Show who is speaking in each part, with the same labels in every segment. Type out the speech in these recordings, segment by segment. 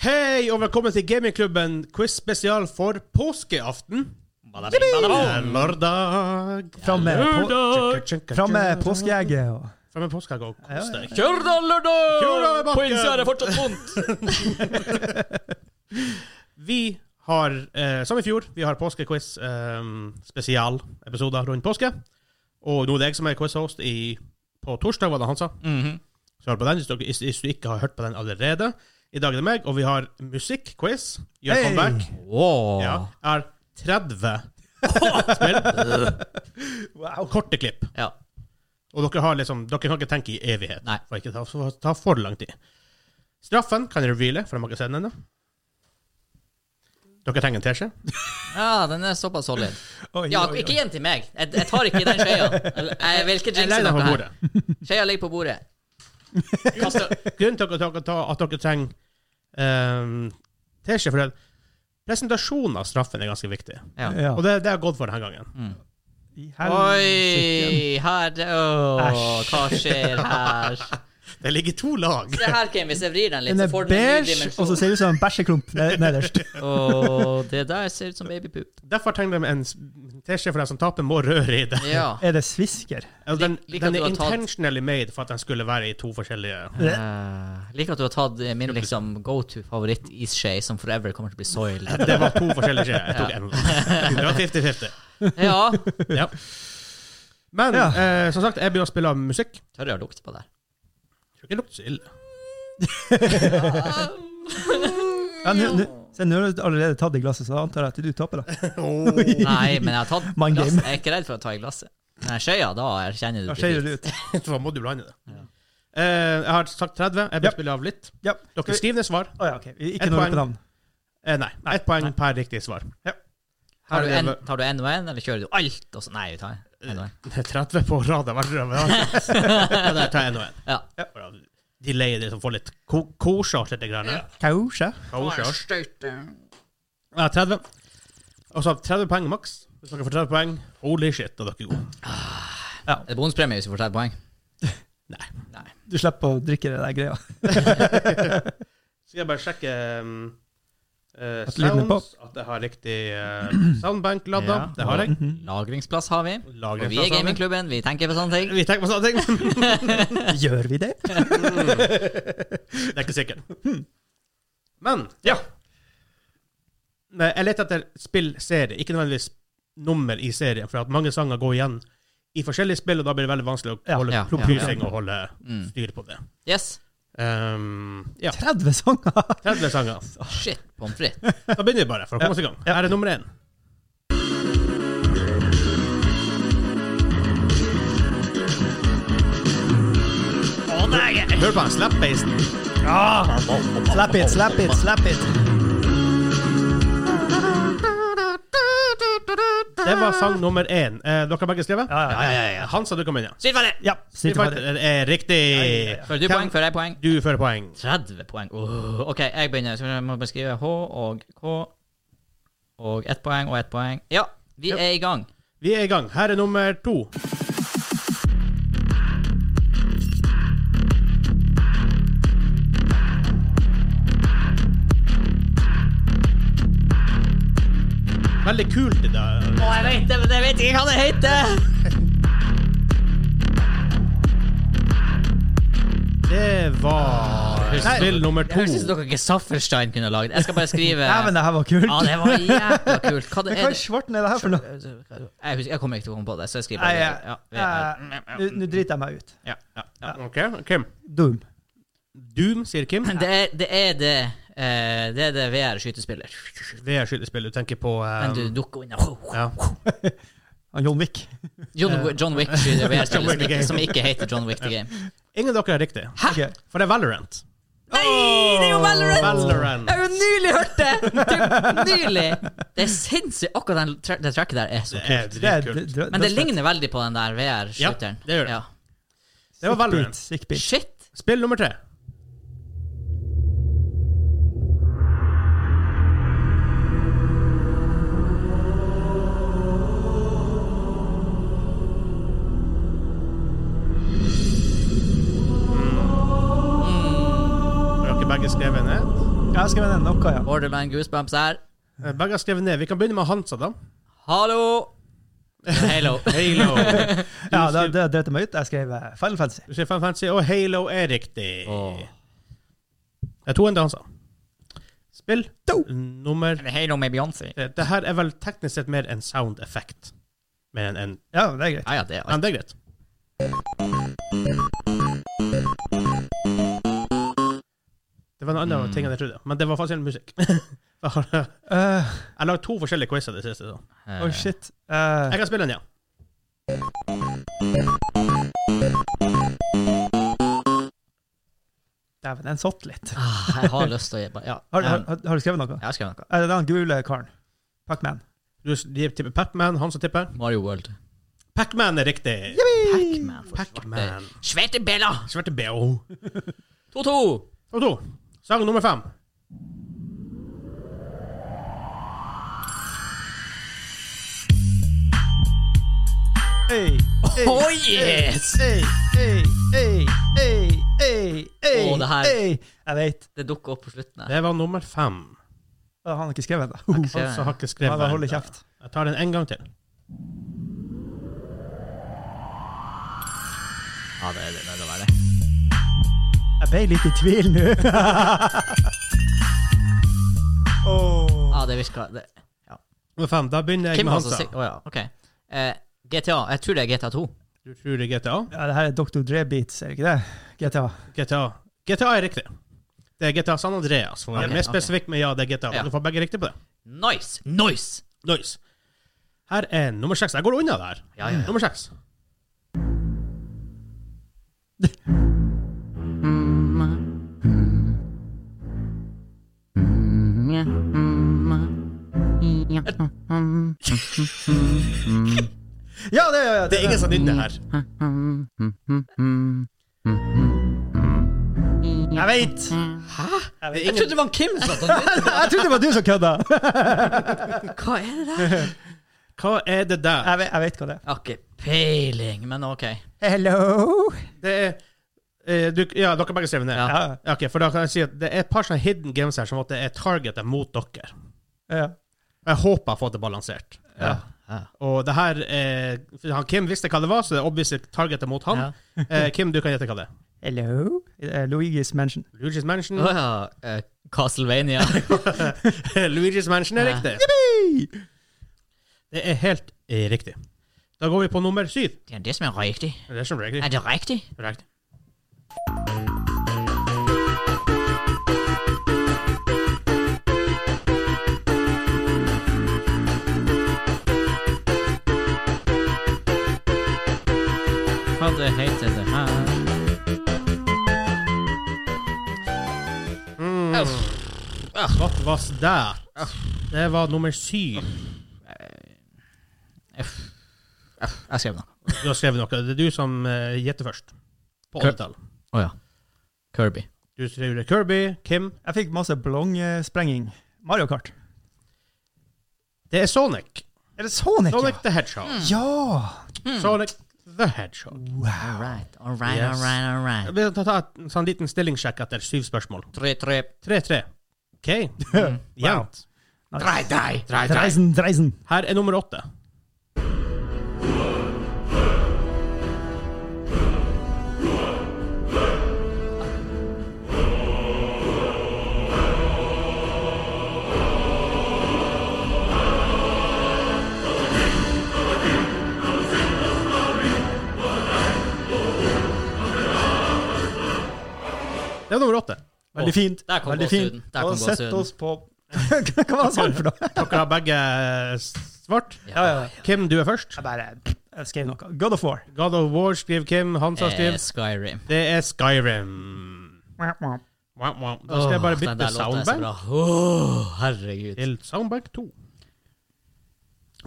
Speaker 1: Hei og velkommen til gamingklubben quiz spesial for påskeaften.
Speaker 2: Badabing,
Speaker 1: Lørdag.
Speaker 3: Fram med, på,
Speaker 1: Lørdag.
Speaker 3: fram med påskeegget og
Speaker 1: Fram med påskeegg og kos deg.
Speaker 2: Kjørda
Speaker 1: Kjør da
Speaker 2: lørdag!
Speaker 1: med bakken!
Speaker 2: På innsida er det fortsatt vondt.
Speaker 1: Vi har, eh, som i fjor, vi har påskequiz eh, spesialepisoder rundt påske. Og nå er det jeg som er quizhost i, på torsdag, var det han sa. Så hør på den hvis du, hvis, hvis du ikke har hørt på den allerede. I dag er det meg, og vi har musikkquiz. Gjør
Speaker 3: Hey!
Speaker 1: comeback.
Speaker 2: Wow.
Speaker 1: Ja. Er 30 spill. Korte klipp.
Speaker 2: Ja.
Speaker 1: Og dere, har liksom, dere kan ikke tenke i evighet.
Speaker 2: Nei.
Speaker 1: For ikke ta, for, ta for lang tid. Straffen kan dere reveale, for de har ikke sett den ennå. Dere trenger en teskje.
Speaker 2: Ja, den er såpass solid.
Speaker 3: Oi,
Speaker 4: Ja,
Speaker 3: oi, oi.
Speaker 4: ikke gi den til meg. Jeg, jeg tar ikke den skjea. Eller, Jeg vil ikke
Speaker 1: Jeg
Speaker 4: jinxe
Speaker 1: legger den
Speaker 4: noe
Speaker 1: på
Speaker 4: her.
Speaker 1: bordet.
Speaker 4: Skjea ligger på bordet. Kaster.
Speaker 1: Grunnen til at dere, ta- at dere trenger um, teskje, fordi at presentasjonen av straffen er ganske viktig.
Speaker 4: Ja.
Speaker 3: Ja.
Speaker 1: Og det, det har jeg gått for denne gangen.
Speaker 3: I
Speaker 4: Oi,
Speaker 3: helsike.
Speaker 4: her Åh,
Speaker 3: Æsj.
Speaker 4: hva skjer her?
Speaker 1: Det ligger to lag.
Speaker 4: Se her, Kim, hvis jeg vrir den litt, så
Speaker 3: Den er
Speaker 4: får den en ny
Speaker 3: beige, og så
Speaker 4: dimensjon.
Speaker 3: ser det ut som en bæsjeklump ne- nederst.
Speaker 4: Åh, det der ser ut som babypoop.
Speaker 1: Derfor trenger de en s- teskje, for den som taper, må røre i det.
Speaker 4: Ja.
Speaker 3: Er det svisker?
Speaker 1: Altså, den,
Speaker 4: Lik- lik at
Speaker 1: den
Speaker 4: du
Speaker 1: er
Speaker 4: har tatt-
Speaker 1: intentionally made for at den skulle være i to forskjellige
Speaker 4: Uh, Liker at du har tatt eh, min liksom go to favoritt isskje, som forever kommer til å bli soiled.
Speaker 1: Det var to forskjellige skjeer. Jeg tok en. Det var 50-50.
Speaker 4: Ja.
Speaker 1: Ja. Men
Speaker 3: Ja.
Speaker 1: eh, som sagt, jeg begynner å spille musikk.
Speaker 4: Tør jeg å lukte på det?
Speaker 1: Jeg tror ikke det lukter så ille.
Speaker 3: Ja, nå- nå- se, nå har du allerede tatt i glasset, så da antar jeg at du taper. da.
Speaker 4: Nei, men jeg har tatt
Speaker 3: Mind
Speaker 4: glass.
Speaker 3: game.
Speaker 4: Jeg er ikke redd for å ta i glasset. Men skjea, da erkjenner du
Speaker 3: Da
Speaker 4: blir
Speaker 3: skeier
Speaker 4: hvit.
Speaker 3: det ut.
Speaker 1: Så må du blande det. Eh, jeg har sagt 30. Jeg bør
Speaker 3: Ja.
Speaker 1: spille av litt.
Speaker 3: Ja.
Speaker 1: Dere skriver ned svar.
Speaker 3: Å ja, ok. Ikke
Speaker 1: Et
Speaker 3: noe
Speaker 1: poeng.
Speaker 3: ropenavn.
Speaker 1: Eh, nei. Ett poeng per riktig svar.
Speaker 4: Tar
Speaker 1: Her
Speaker 4: du,
Speaker 1: er
Speaker 4: en,
Speaker 1: det- Eh.
Speaker 4: tar du en og en, eller kjører du alt? Og så, nei, vi tar en og en.
Speaker 1: Det er 30 på rad. Det har vært rød. Ja, der tar jeg en og en.
Speaker 4: Ja.
Speaker 1: Bra. Delay det, så får litt ko- kosjart litt. Grann.
Speaker 3: Kanskje.
Speaker 1: Kosjart. Ja, 30. Og så 30 poeng maks. Hvis dere får 30 poeng, holy shit, da er dere gode.
Speaker 4: Er det bonuspremie hvis du får 30 poeng?
Speaker 1: Nei.
Speaker 3: Du slipper å drikke det der greia.
Speaker 1: Skal jeg bare sjekke um, eh,
Speaker 3: At lyden er på.
Speaker 1: sounds, at jeg har riktig eh, soundbank ladda.
Speaker 4: Ja.
Speaker 1: Det har jeg.
Speaker 4: Lagringsplass har vi. Og vi
Speaker 1: Lagringsplass
Speaker 4: er gamingklubben, vi tenker på sånne ting.
Speaker 1: Vi tenker på sånne ting.
Speaker 3: Gjør vi det?
Speaker 1: det er ikke sikkert. Men ja. Nei, Jeg leter etter spillserie, ikke nødvendigvis nummer i serien, for at mange sanger går igjen i forskjellige spill, og da blir det veldig vanskelig å
Speaker 3: Ja,
Speaker 1: holde
Speaker 4: ja, ja,
Speaker 1: propusing og holde
Speaker 4: Mm.
Speaker 1: styr på det.
Speaker 4: Yes.
Speaker 1: Um, ja,
Speaker 3: 30 sanger!
Speaker 1: 30 sanger.
Speaker 4: Shit, pommes frites.
Speaker 1: Da begynner vi bare, for å komme oss i gang. Her er nummer én. Hør på han slap-basen.
Speaker 3: Ah, slap it, slap it, slap it.
Speaker 1: Det var sang nummer én. Eh, dere har begge skrevet?
Speaker 3: Ja, ja,
Speaker 1: Hansa, du kom inn, ja.
Speaker 4: Styrt ferdig!
Speaker 3: Ja.
Speaker 1: Det
Speaker 3: Street
Speaker 1: er,
Speaker 3: Fighter.
Speaker 1: riktig.
Speaker 4: Får du
Speaker 1: Hvem-
Speaker 4: poeng, får jeg poeng?
Speaker 1: Du fører poeng.
Speaker 4: 30 poeng. Åh, OK, jeg begynner. Så jeg må beskrive H og K. Og ett poeng og ett poeng. Ja, vi
Speaker 1: Yep.
Speaker 4: er i gang.
Speaker 1: Vi er i gang. Her er nummer to. Veldig kult, det der.
Speaker 4: Å, jeg vet det, men jeg vet ikke hva det heter!
Speaker 1: Det var spill nummer
Speaker 4: Det
Speaker 1: to.
Speaker 4: høres ut som dere ikke Safferstein kunne lagd. Jeg skal bare skrive
Speaker 3: Ja, men det her var kult.
Speaker 4: Ja, det var jævla kult. Hva det
Speaker 3: Men
Speaker 4: er
Speaker 3: Hva i
Speaker 4: det?
Speaker 3: svarten er det her for noe?
Speaker 4: Jeg, husker, jeg kommer ikke til å komme på det, så jeg skriver
Speaker 3: Nei,
Speaker 4: bare
Speaker 3: jeg-
Speaker 4: ja, vi er-
Speaker 3: eh, Nå nå driter jeg meg ut.
Speaker 4: ja, ja, ja.
Speaker 1: OK, Kim.
Speaker 3: Doom.
Speaker 1: Doom, sier Kim.
Speaker 4: Det er det, er det, eh, det, er det VR-skytespillet.
Speaker 1: VR-skytespill. Du tenker på
Speaker 4: Men
Speaker 1: um,
Speaker 4: du dukker unna.
Speaker 1: ja.
Speaker 3: Han John Wick.
Speaker 4: John, John Wick skyter
Speaker 1: John Wick the Game.
Speaker 4: VR-spillet, som ikke heter John Wick the Game.
Speaker 1: Ingen av dere er riktig,
Speaker 4: Hæ?
Speaker 3: Ok.
Speaker 1: for det er Valorant.
Speaker 4: Nei, det er jo Valorant!
Speaker 1: Valorant.
Speaker 4: Jeg har jo nylig hørt det! Typ Nylig! Det er sinnssykt. Akkurat den, tra- det tracket der er så
Speaker 1: Det
Speaker 4: kult.
Speaker 1: er
Speaker 3: Det er dr-
Speaker 1: dritkult.
Speaker 3: dr-
Speaker 4: Men det
Speaker 3: dr-
Speaker 4: ligner veldig på den der VR-skyteren.
Speaker 1: Ja, det gjør det. Det var
Speaker 3: sick beat,
Speaker 1: Valorant.
Speaker 3: Sick beat.
Speaker 4: Shit!
Speaker 1: Spill nummer tre. Mm. Har dere begge skrevet ned?
Speaker 3: Jeg skal skrevet ned noe, ja.
Speaker 4: Borderline goosebumps her.
Speaker 1: Eh, Begge har skrevet ned. Vi kan begynne med Hansa, da.
Speaker 4: Hallo! Halo.
Speaker 1: Halo.
Speaker 3: ja det, det dreit jeg meg ut. Jeg skrev eh, Final Fantasy.
Speaker 1: Du sier Final Fantasy, og Halo er riktig.
Speaker 4: Åh.
Speaker 1: Det er to enn det Hansa. Spill
Speaker 3: To.
Speaker 1: nummer
Speaker 4: Men Halo med Beyoncé.
Speaker 1: Eh, det, det her er vel teknisk sett mer en sound effect. Mer enn en
Speaker 3: Ja, det er greit.
Speaker 4: Ja, ja, det er alt.
Speaker 1: Men det er greit. Det var en annen
Speaker 3: Mm.
Speaker 1: ting enn jeg trodde, men det var faktisk en musikk. jeg har jeg
Speaker 3: Eh,
Speaker 1: har lagd to forskjellige quizer det siste. Så.
Speaker 3: oh shit. Eh,
Speaker 1: Jeg kan spille den, ja.
Speaker 3: Dæven, den satt litt.
Speaker 4: Ah, jeg har lyst til å gi Ja.
Speaker 3: Har, har,
Speaker 4: um,
Speaker 3: har har du skrevet noe?
Speaker 4: Jeg har skrevet noe.
Speaker 3: Er det den gule karen? Pac-Man.
Speaker 1: Du de tipper Pac-Man, han som tipper.
Speaker 4: Mario World.
Speaker 1: Pac-Man er riktig!
Speaker 4: Pac-Man. for svarte-
Speaker 1: Pac-Man.
Speaker 4: Svarte Bella!
Speaker 1: Svarte BO.
Speaker 4: 2-2.
Speaker 1: Og to. Sang nummer fem.
Speaker 3: Hey, hey,
Speaker 4: Oh, yes!
Speaker 3: Hey, hey, hey, hey, hey, hey,
Speaker 4: Åh, det her-
Speaker 3: hey. Jeg vet.
Speaker 4: Det dukker opp på slutten her.
Speaker 1: Det var nummer fem.
Speaker 3: Da har han ikke skrevet det.
Speaker 4: ikke
Speaker 1: Han som har ikke skrevet
Speaker 3: Ja, da holder
Speaker 1: den.
Speaker 3: kjeft.
Speaker 1: Jeg tar den en gang til.
Speaker 4: Ja, det er det. det, var det.
Speaker 3: Jeg ble litt i tvil nå. Åh.
Speaker 4: Ja, det virka det.
Speaker 1: Nummer fem. Da begynner jeg
Speaker 4: Kim
Speaker 1: med
Speaker 4: Hansa.
Speaker 1: Hansa.
Speaker 4: Å ja, OK. Eh, GTA. Jeg tror det er GTA 2.
Speaker 1: Du tror det er GTA?
Speaker 3: Ja, det her er Dr. Dre Beats, er det ikke det? GTA.
Speaker 1: GTA. GTA er riktig. Det er GTA San Andreas. For å være
Speaker 4: Ok,
Speaker 1: mer
Speaker 4: ok.
Speaker 1: spesifikk, men ja, det er GTA.
Speaker 4: Ja.
Speaker 1: Du får begge riktig på det.
Speaker 4: Nice! Nice!
Speaker 1: Nice. Her er nummer seks. Jeg går unna der.
Speaker 4: Ja, ja, ja.
Speaker 1: Nummer seks.
Speaker 3: Ja, det, ja, ja,
Speaker 1: Det er ingen som nynner her.
Speaker 3: Jeg vet!
Speaker 4: Mm.
Speaker 1: Det er
Speaker 4: Jeg
Speaker 1: ingen...
Speaker 4: trodde det var en Kim som satt og
Speaker 3: Jeg trodde det var du som kødda.
Speaker 4: Hva er det der?
Speaker 1: Hva er det der?
Speaker 3: Jeg vet, jeg vet hva det er.
Speaker 4: Jeg har ikke peiling, men OK.
Speaker 3: Hello!
Speaker 1: Det er eh, du, Ja, dere begge skrev det ned.
Speaker 4: Ja.
Speaker 1: Ja.
Speaker 3: Ja,
Speaker 1: Ok, for da kan jeg si at det er et par sånne hidden games her som at det er targetet mot dere.
Speaker 3: ja.
Speaker 1: Jeg håper jeg har fått det balansert.
Speaker 4: Ja.
Speaker 1: Og det her eh, for han Kim visste hva det var, så det er obviously targetet mot han. Eh, Kim, du kan gjette hva det er.
Speaker 3: Hello? Eh, Luigi's Mansion.
Speaker 1: Luigi's Mansion.
Speaker 4: Å ja. eh, Castlevania.
Speaker 1: Luigi's Mansion er
Speaker 4: Ja.
Speaker 1: riktig. Det er helt eh, riktig. Da går vi på nummer syv.
Speaker 4: Det er det som er riktig.
Speaker 1: Det er som riktig.
Speaker 4: Er det riktig?
Speaker 1: Riktig.
Speaker 4: Hva det heter det her?
Speaker 1: What was that? Det var nummer syv.
Speaker 4: Uff. Uff, Jeg skrev noe.
Speaker 1: Du har skrevet noe. Det er du som eh, gjetter først. På
Speaker 4: Kør.
Speaker 1: åttetall.
Speaker 4: Å ja. Kirby.
Speaker 1: Du skriver Kirby, Kim.
Speaker 3: Jeg fikk masse ballong-sprenging. Mario Kart.
Speaker 1: Det er Sonic.
Speaker 3: Er det Sonic?
Speaker 1: Sonic the Hedgehog.
Speaker 4: Mm,
Speaker 3: Ja!
Speaker 1: Sonic the Hedgehog.
Speaker 4: All right, all right,
Speaker 1: Yes.
Speaker 4: all right,
Speaker 1: Jeg
Speaker 4: all right.
Speaker 1: vil ta, ta en sånn liten stillingssjekk etter syv spørsmål.
Speaker 4: Tre, tre.
Speaker 1: Tre-tre. OK.
Speaker 4: Mm.
Speaker 1: Jevnt.
Speaker 4: Drei, drei, drei, drei.
Speaker 3: Dreisen, dreisen.
Speaker 1: Her er nummer åtte. Det var nummer åtte.
Speaker 3: Veldig fint.
Speaker 4: Der kom
Speaker 3: Veldig
Speaker 4: gåsehuden. Der kom
Speaker 3: Og sett
Speaker 4: gåsehuden.
Speaker 3: oss på Hva var det sånn for noe?
Speaker 1: Dere har begge eh, svart.
Speaker 3: Ja, ja. ja.
Speaker 1: Kim, du er først.
Speaker 3: Jeg bare jeg skrev noe. God of War.
Speaker 1: God of War skriver Kim. Hansa
Speaker 4: Eh,
Speaker 1: skriver
Speaker 4: Skyrim.
Speaker 1: Det er Skyrim. Wow, wow. Da skal jeg bare
Speaker 4: Åh, den
Speaker 1: bytte
Speaker 4: der låten er så
Speaker 1: soundbank
Speaker 4: bra. Åh, herregud.
Speaker 1: til soundbank 2.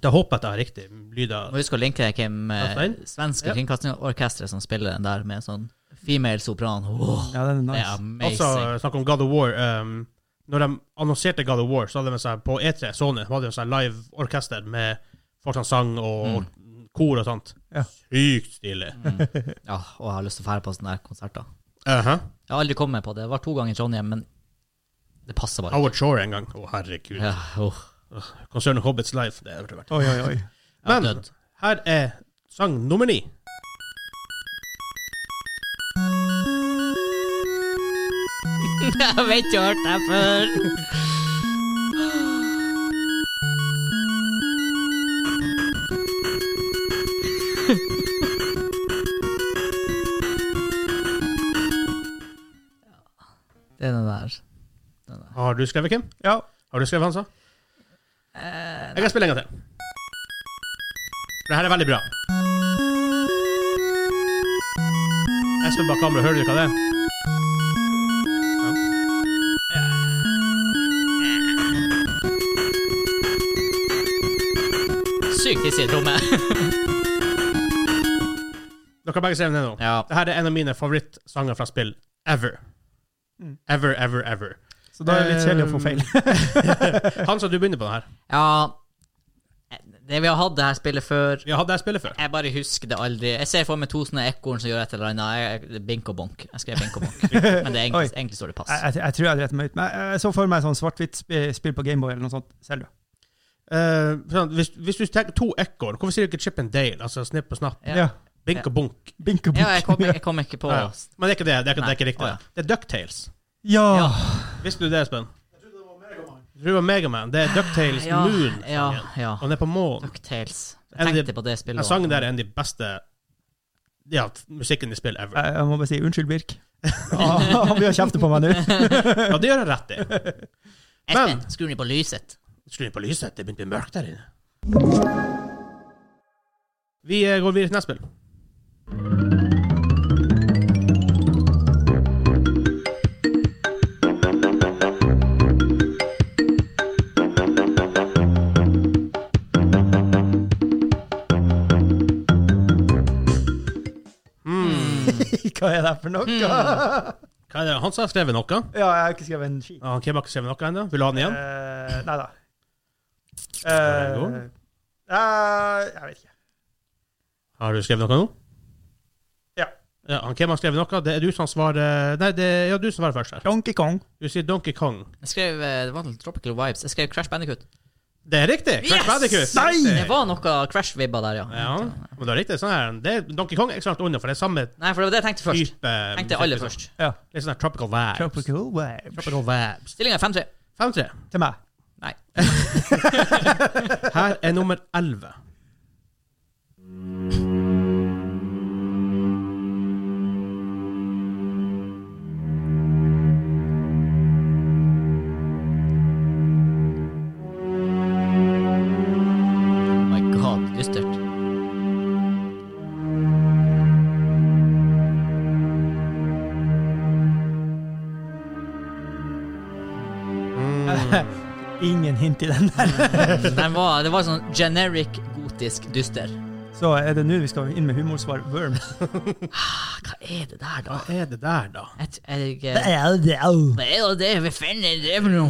Speaker 1: Da håper jeg at jeg har riktig lyder.
Speaker 4: Må huske å linke Kim, eh,
Speaker 1: Stein?
Speaker 4: svenske
Speaker 1: Ja.
Speaker 4: kringkastingsorkestret som spiller den der med sånn female sopran. Åh,
Speaker 3: Ja, den
Speaker 4: det er
Speaker 3: er nice.
Speaker 1: Også
Speaker 4: amazing.
Speaker 1: Altså, snakk om God of War. Um, når de annonserte God of War, så hadde de seg på E3 Sony hadde de seg live orkester med folk som sang og
Speaker 4: Mm.
Speaker 1: kor og sånt.
Speaker 3: Ja.
Speaker 1: Sykt stilig.
Speaker 4: Ja, og jeg har lyst til å fære på sånne der konserter.
Speaker 1: Aha.
Speaker 4: Jeg har aldri kommet på det. Jeg var to ganger i Trondheim, men Det passer bare.
Speaker 1: Howard Shore en gang. Å, herregud.
Speaker 4: Ja, oh,
Speaker 1: Konsernet Hobbits Life. Det burde vært.
Speaker 3: Oi, oi, oi.
Speaker 4: jeg har
Speaker 1: Men-
Speaker 4: dødd.
Speaker 1: Her er sang nummer ni.
Speaker 4: Jeg vet ikke, jeg har hørt det før. Det er den der.
Speaker 1: Har du skrevet, Kim?
Speaker 3: Ja.
Speaker 1: Har du skrevet, Hansa? jeg kan spille en gang til. Det her er veldig bra. Espen bak kamera, hører du hva det er?
Speaker 4: Sykt hissig tromme.
Speaker 1: Dere har begge skrevet ned nå.
Speaker 4: Ja.
Speaker 1: Det her er en av mine favorittsanger fra spill ever.
Speaker 3: Mm.
Speaker 1: Ever, ever, ever.
Speaker 3: Så da er det litt kjedelig å få feil.
Speaker 1: Hansa, du begynner på den her.
Speaker 4: ja. Det vi har hatt det her spillet før
Speaker 1: Vi har hatt det her spillet før.
Speaker 4: Jeg bare husker det aldri. Jeg ser for meg to sånne ekorn som gjør et eller annet. Jeg- jeg- Bink og bonk. Jeg skrev bink og bonk. Men det er
Speaker 3: Oi.
Speaker 4: egentlig, egentlig står det
Speaker 3: Jeg,
Speaker 4: pass.
Speaker 3: jeg, jeg tror jeg dreit meg ut. Men jeg, jeg så for meg sånn svart-hvitt spi- spill på Gameboy eller noe sånt. Selda.
Speaker 1: Eh, sånn, hvis, hvis du tenker to ekorn, hvorfor sier du ikke Chip and Dale? Altså snipp og snapp.
Speaker 4: Ja.
Speaker 3: Ja.
Speaker 1: Bink og bunk.
Speaker 3: Bink og
Speaker 4: Ja, jeg kom,
Speaker 3: bunk.
Speaker 4: jeg kom ikke på
Speaker 1: Ja, ja. Men det er ikke det. Det er ikke, det er ikke
Speaker 4: Nei.
Speaker 1: riktig.
Speaker 4: Å, ja.
Speaker 1: Det er DuckTales.
Speaker 3: Ja.
Speaker 4: Ja.
Speaker 1: Visste du det, Espen? Jeg trodde det var Megaman. Det er DuckTales
Speaker 4: Ja,
Speaker 1: Moon.
Speaker 4: ja,
Speaker 1: sangen.
Speaker 4: ja.
Speaker 1: Og den er på månen.
Speaker 4: DuckTales.
Speaker 1: Er
Speaker 4: Jeg
Speaker 1: det-
Speaker 4: tenkte på det spillet.
Speaker 1: Den sangen der er en av de beste ja, musikken i spill ever.
Speaker 3: Eh, Jeg, jeg må bare si unnskyld, Birk. Ah, Han blir å kjefte på meg nå.
Speaker 1: Ja, det gjør jeg rett i.
Speaker 4: Espen, skru ned på lyset.
Speaker 1: Skru inn på lyset. Det begynte å bli mørkt der inne. Vi eh, går videre til neste spill.
Speaker 3: Hva er det for noe? Ja,
Speaker 1: Hva er det? Hans har skrevet noe.
Speaker 3: jeg har ikke skrevet en skit.
Speaker 1: Ah, Kim har ikke skrevet noe ennå. Vil du ha den igjen?
Speaker 3: Eh, nei da.
Speaker 1: Er det
Speaker 3: Eh,
Speaker 1: god?
Speaker 3: eh, jeg vet ikke.
Speaker 1: Har du skrevet noe nå?
Speaker 3: Ja.
Speaker 1: ja han Kim har skrevet noe. Det er du som svarer Nei, det er ja, du som svarer først her.
Speaker 3: Donkey Kong.
Speaker 1: Du sier Donkey Kong.
Speaker 4: Jeg skrev eh, Det var noen Tropical Vibes. Jeg skrev Crash Bandicoot.
Speaker 1: Det er riktig! Crash
Speaker 4: Yes!
Speaker 1: Bandicoot.
Speaker 3: Nei!
Speaker 4: Det var noe Crash-vibber der, ja.
Speaker 1: Ja, men det er riktig. Sånn her. Det er Donkey Kong er ikke så langt unna, for det er samme
Speaker 4: Nei, for det var det jeg tenkte først.
Speaker 1: type
Speaker 4: Jeg tenkte aller først.
Speaker 3: Ja.
Speaker 1: Litt sånn her tropical vibes.
Speaker 3: Tropical Wave.
Speaker 1: Tropical vibes.
Speaker 4: Stillinga er 5-3.
Speaker 1: 5-3.
Speaker 3: Til meg.
Speaker 4: Nei.
Speaker 1: Her er nummer 11.
Speaker 4: Oh My god, dystert.
Speaker 3: Ingen hint i den der.
Speaker 4: Den var, det var sånn generic gotisk dyster.
Speaker 3: Så er det nå vi skal inn med humorsvar. Worm.
Speaker 4: Ah, Hva er det der, da?
Speaker 1: Hva er det der, da?
Speaker 4: Jeg, jeg,
Speaker 3: Det er det. au.
Speaker 4: Hva er det vi finner det for noe?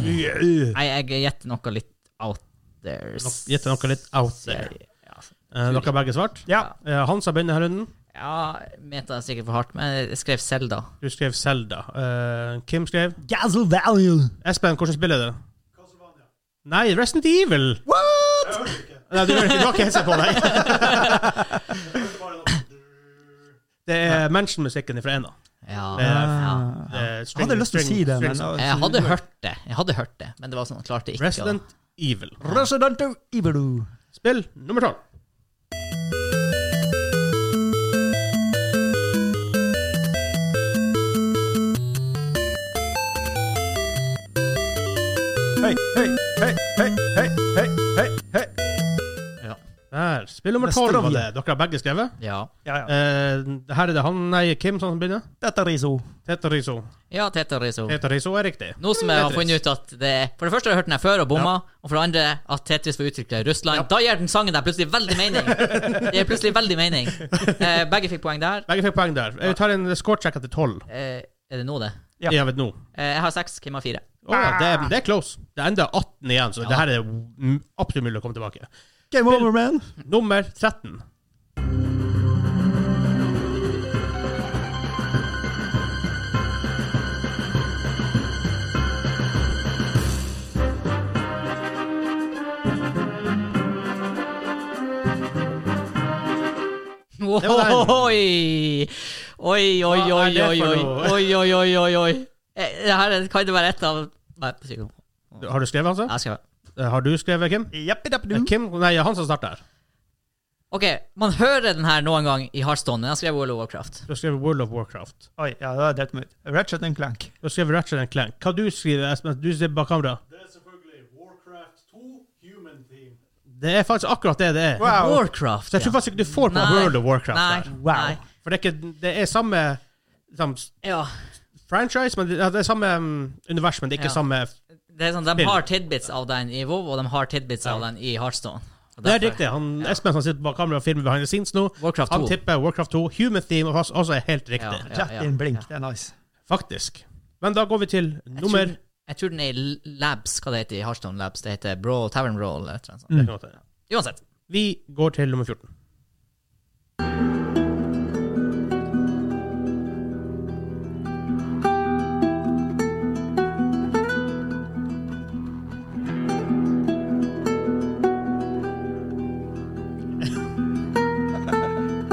Speaker 4: Nei, jeg gjetter noe litt out there.
Speaker 1: Nok- Gjett noe litt out there.
Speaker 4: Ja, altså,
Speaker 1: Eh, dere har begge svart.
Speaker 3: Ja.
Speaker 1: Eh, Hansa begynner her runden.
Speaker 4: ja meta er sikkert for hardt, men jeg skrev Selda.
Speaker 1: Du skrev Selda. Kim skrev
Speaker 3: Gazzle Value.
Speaker 1: Espen, hvordan spiller du? Nei, Resident Evil!
Speaker 3: What?!
Speaker 1: Nei, du, hører ikke, du har ikke headset på deg. Det er mention-musikken fra ena.
Speaker 4: Ja,
Speaker 1: Det er-
Speaker 4: ja.
Speaker 1: Det er
Speaker 3: Jeg
Speaker 1: string-
Speaker 3: hadde lyst til å
Speaker 1: string-
Speaker 3: si det,
Speaker 1: string-
Speaker 3: men ah,
Speaker 4: Jeg hadde hørt det, jeg hadde hørt det, men det var sånn, jeg klarte ikke å
Speaker 1: Resident Evil.
Speaker 3: Resident of Evil.
Speaker 1: Spill nummer tolv.
Speaker 3: Hei, hei, hei, hei, hei, hei, hei, hei.
Speaker 4: ja.
Speaker 1: Der. Spill nummer
Speaker 3: Neste
Speaker 1: tolv var
Speaker 3: runde.
Speaker 1: det. Dere har begge skrevet.
Speaker 4: Ja.
Speaker 3: Ja, ja.
Speaker 1: Eh, her er det han, nei, Kim som begynner.
Speaker 3: Dette er riso.
Speaker 1: Teta Riso.
Speaker 4: ja, Tetris. og-
Speaker 1: Teta Riso er riktig.
Speaker 4: Nå som jeg har
Speaker 1: Tetris.
Speaker 4: funnet ut at det er For det første har jeg hørt den her før og bomma, og for det andre at Tetris var utvikla i Russland, da gir den sangen der plutselig veldig mening. Det gir plutselig veldig mening. Eh, begge fikk poeng der.
Speaker 1: Begge fikk poeng der. Jeg tar en scorecheck etter tolv.
Speaker 4: Eh, er det nå, det?
Speaker 3: Ja.
Speaker 1: Jeg vet nå.
Speaker 4: Eh, jeg har seks, Kim har fire.
Speaker 1: Å, det, er, det er close. Det er enda 18 igjen, så
Speaker 4: Ja.
Speaker 1: det her er mm, absolutt mulig å komme tilbake.
Speaker 3: Game over, man.
Speaker 1: Nummer 13. Det var den.
Speaker 4: Oi, oi, oi,
Speaker 1: Hva er
Speaker 4: oi,
Speaker 1: det
Speaker 4: oi,
Speaker 1: for
Speaker 4: oi,
Speaker 1: noe?
Speaker 4: oi, oi, oi, oi, oi. Eh, Det her er- kan det være et av Nei, på sykdom.
Speaker 1: Har du skrevet, Hansa?
Speaker 4: Jeg skal
Speaker 1: Eh, Har du skrevet, Kim? Eh,
Speaker 3: Jappidapidum.
Speaker 1: Kim? Nei, Hansa starter.
Speaker 4: Ok, man hører den her noen gang i Hearthstone. men Jeg skrev World of Warcraft.
Speaker 1: Du har skrevet World of Warcraft.
Speaker 3: Oi, ja, det har drept meg ut. Ratchet and Clank.
Speaker 1: Du har skrevet Ratchet and Clank. Hva du skriver Espen? Du sitter bak kamera.
Speaker 5: Det er selvfølgelig Warcraft 2 Human Team.
Speaker 1: Det er faktisk akkurat det det er.
Speaker 4: Warcraft,
Speaker 1: Så jeg tror
Speaker 4: ja.
Speaker 1: faktisk ikke du får på
Speaker 4: Nei.
Speaker 1: World of Warcraft der.
Speaker 4: Nei,
Speaker 3: Wow.
Speaker 4: nei.
Speaker 1: For det er, ikke, det er samme samme s-
Speaker 4: Ja,
Speaker 1: franchise, men det, ja, det er samme um, univers, men det er ikke
Speaker 4: Ja.
Speaker 1: samme
Speaker 4: det er sånn, De
Speaker 1: Spill.
Speaker 4: har tidbits av den i WoW, og de har tidbits av den i Hearthstone. Og
Speaker 1: Det er
Speaker 4: derfor-
Speaker 1: riktig. Han, Espen som sitter bak kamera og filmer behind the scenes nå,
Speaker 4: Warcraft
Speaker 1: han
Speaker 4: 2.
Speaker 1: tipper Warcraft 2. Human theme og hans- også er helt riktig.
Speaker 4: Ja,
Speaker 3: Rett
Speaker 4: ja.
Speaker 3: inn blink. Det er nice.
Speaker 1: Faktisk. Men da går vi til
Speaker 4: Jeg
Speaker 1: nummer
Speaker 4: tror, jeg tror den er i Labs, hva det heter i Hearthstone Labs. Det heter Brawl, Tavern Brawl eller et eller annet sånt.
Speaker 1: Det kan godt hende.
Speaker 4: Uansett.
Speaker 1: Vi går til nummer 14.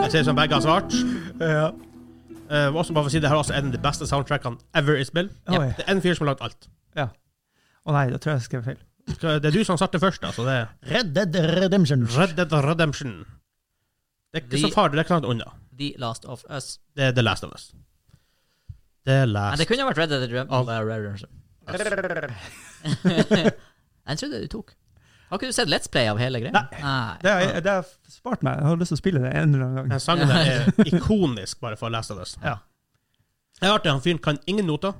Speaker 1: Jeg ser som begge har svart.
Speaker 3: Ja.
Speaker 1: Eh, også bare for å si Det her er også en av de beste soundtrackene ever i spill.
Speaker 3: Oi.
Speaker 1: Det er en fyr som har lagd alt.
Speaker 3: Ja. Å nei, da tror jeg jeg skrev feil.
Speaker 1: Skal- Det er du som starter først. Altså. Det er
Speaker 3: Red Dead Redemption.
Speaker 1: Red Dead Redemption. Det er ikke
Speaker 4: Vi-
Speaker 1: så farlig. Det er ikke langt unna.
Speaker 4: The Last of Us.
Speaker 1: Det er The Last of Us. The
Speaker 4: Men
Speaker 1: Last
Speaker 4: det kunne ha vært Red Dead Redemption.
Speaker 1: Av-
Speaker 4: Den trodde jeg du tok. Har ikke du sett Let's Play av hele greia?
Speaker 3: Nei.
Speaker 4: Nei.
Speaker 3: Det har det har spart meg. Jeg har lyst til å spille det en eller annen gang.
Speaker 1: Den sangen der er ikonisk bare for Last of Us.
Speaker 3: Ja.
Speaker 1: Det er artig, han fyren kan ingen noter,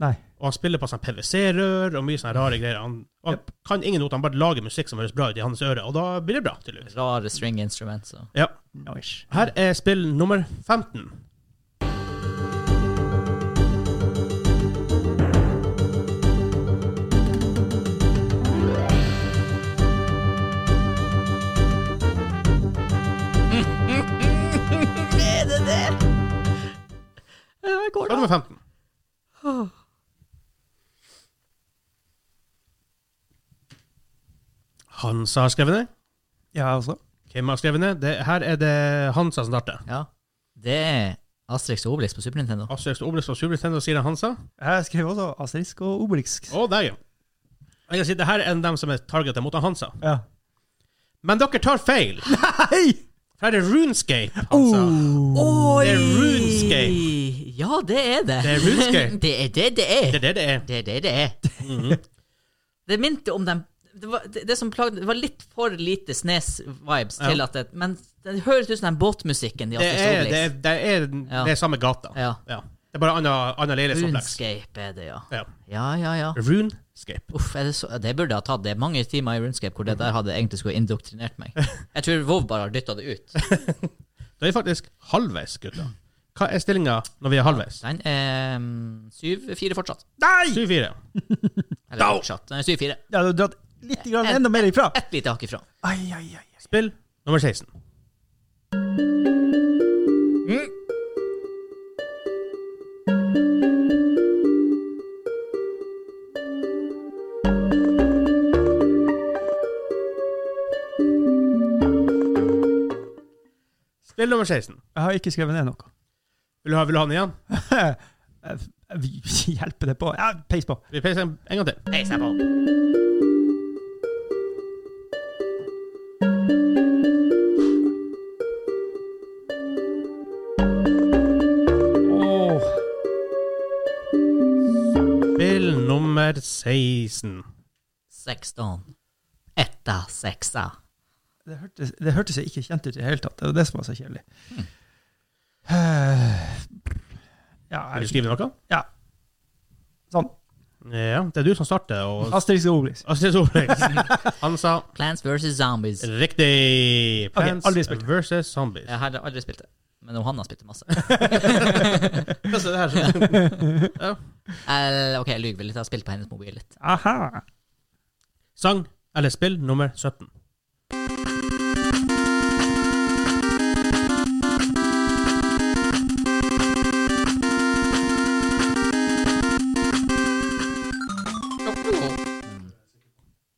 Speaker 3: Nei.
Speaker 1: og han spiller på sånn PVC-rør og mye sånne rare greier. Han, han kan ingen noter, han bare lager musikk som høres bra ut i hans øre, og da blir det bra, tydeligvis.
Speaker 4: Rare string instrument, så.
Speaker 1: Ja.
Speaker 3: Nice.
Speaker 1: Her er spill nummer 15.
Speaker 4: Er det det? Jeg går
Speaker 1: Spill
Speaker 4: da.
Speaker 1: nummer 15. Hans har skrevet det.
Speaker 3: Ja, jeg også.
Speaker 1: Kim har skrevet det. det. Her er det Hansa som starter.
Speaker 4: Ja. Det er Asterix og Obelix på Super Nintendo.
Speaker 1: Asterix og Obelix og Super Nintendo, sier han Hansa.
Speaker 3: Jeg skrev også Asterisk og Obelix.
Speaker 1: Å, der, ja. Jeg kan si, det her er en av dem som er targetet mot han Hansa.
Speaker 3: Ja.
Speaker 1: Men dere tar feil!
Speaker 3: Hei!
Speaker 1: For her er Runescape, Hansa.
Speaker 4: Oh. Oi!
Speaker 1: Det er RuneScape.
Speaker 4: Ja, det er det.
Speaker 1: Det er RuneScape.
Speaker 4: det er det det er.
Speaker 1: Det Mhm. er det det er.
Speaker 4: Det er det det er. Det minte om dem det, var, det, det som plagde Det var litt for lite Snes-vibes til at det Men det høres ut som den båtmusikken de
Speaker 1: Det er,
Speaker 4: alltid står
Speaker 1: det er,
Speaker 4: liksom.
Speaker 1: det er, det er samme gata.
Speaker 4: Ja.
Speaker 1: Det er bare anna, anna leilighetskompleks.
Speaker 4: Runescape er det, ja.
Speaker 1: Ja.
Speaker 4: Ja, ja, ja.
Speaker 1: Runescape.
Speaker 4: Uff, er det, så, det burde jeg ha tatt. Det er mange timer i Runescape hvor det der hadde egentlig skulle indoktrinert meg. Jeg tror Vov bare har dytta det ut.
Speaker 1: Da er vi faktisk halvveis, gutta. Hva er stillinga når vi er halvveis?
Speaker 4: Den er mm, 7-4 fortsatt.
Speaker 1: 7-4.
Speaker 4: Eller fortsatt. Den er 7-4.
Speaker 3: Jeg hadde dratt litt grann enda mer ifra.
Speaker 4: Ett lite hakk ifra.
Speaker 3: Ai, ai, ai.
Speaker 1: Spill nummer 16. Spill nummer 16.
Speaker 3: Jeg har ikke skrevet ned noe.
Speaker 1: Vil du ha, vil du ha den igjen?
Speaker 3: Jeg- Vi hjelper det på. Ja, peis på.
Speaker 1: Vi peiser en en gang til.
Speaker 4: Hei, se på.
Speaker 3: Åh.
Speaker 1: Spill nummer 16.
Speaker 4: 16. Etta, seksa.
Speaker 3: Det hørtes, det hørtes ikke kjent ut i det hele tatt. Det var det som var så kjedelig. Ja,
Speaker 1: Vil du
Speaker 3: jeg,
Speaker 1: skrive noe?
Speaker 3: ja. Sånn.
Speaker 1: Ja, det er du som starter. Og...
Speaker 3: Asterix og Obelix.
Speaker 1: Astrid Solveig. Han sa
Speaker 4: Plants versus Zombies.
Speaker 1: riktig.
Speaker 3: Ok,
Speaker 1: Plants
Speaker 3: aldri spilt.
Speaker 1: versus zombies.
Speaker 4: Jeg har aldri spilt det. Men han har spilt det masse.
Speaker 1: Altså, det her så-
Speaker 4: Eller, ok, jeg lyver litt. Jeg har spilt på hennes mobil litt.
Speaker 3: Aha.
Speaker 1: Sang eller spill nummer 17.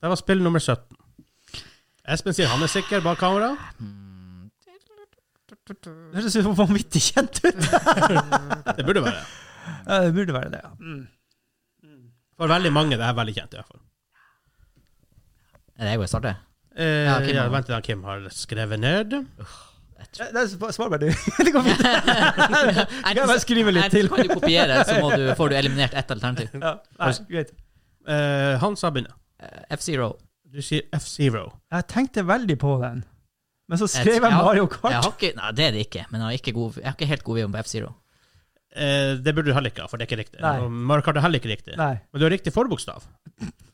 Speaker 1: Det var spill nummer 17. Espen sier han er sikker bak kamera.
Speaker 3: Det høres jo vanvittig kjent ut.
Speaker 1: Det burde være det.
Speaker 3: Ja, det burde være det, ja.
Speaker 1: For veldig mange det er veldig kjent, i hvert fall.
Speaker 4: Er det jeg vil starte?
Speaker 1: Eh, ja,
Speaker 4: Ja, Kim har-
Speaker 1: vent til da Kim har skrevet ned.
Speaker 3: Det det er svar- Svar bare, du. Det går fint.
Speaker 4: Jeg
Speaker 3: Jeg bare skriver litt til.
Speaker 4: Kan du kopiere, så må du, får du eliminert ett alternativ.
Speaker 3: Ja, nei, greit.
Speaker 1: Eh, Hansa begynner.
Speaker 4: Eh, F-Zero.
Speaker 1: Du sier F-Zero.
Speaker 3: Jeg tenkte veldig på den, men så
Speaker 4: Jeg
Speaker 3: skrev
Speaker 4: tror-
Speaker 3: jeg
Speaker 4: ja.
Speaker 3: Mario
Speaker 4: Jeg
Speaker 3: Kart.
Speaker 4: har ikke, nei, det er det ikke, men jeg har ikke, god, jeg har ikke helt god video på F-Zero.
Speaker 1: Eh, det burde du heller ikke ha, for det er ikke riktig.
Speaker 3: Nei.
Speaker 1: Og Mario Kart er heller ikke riktig.
Speaker 3: Nei.
Speaker 1: Men du har riktig forbokstav.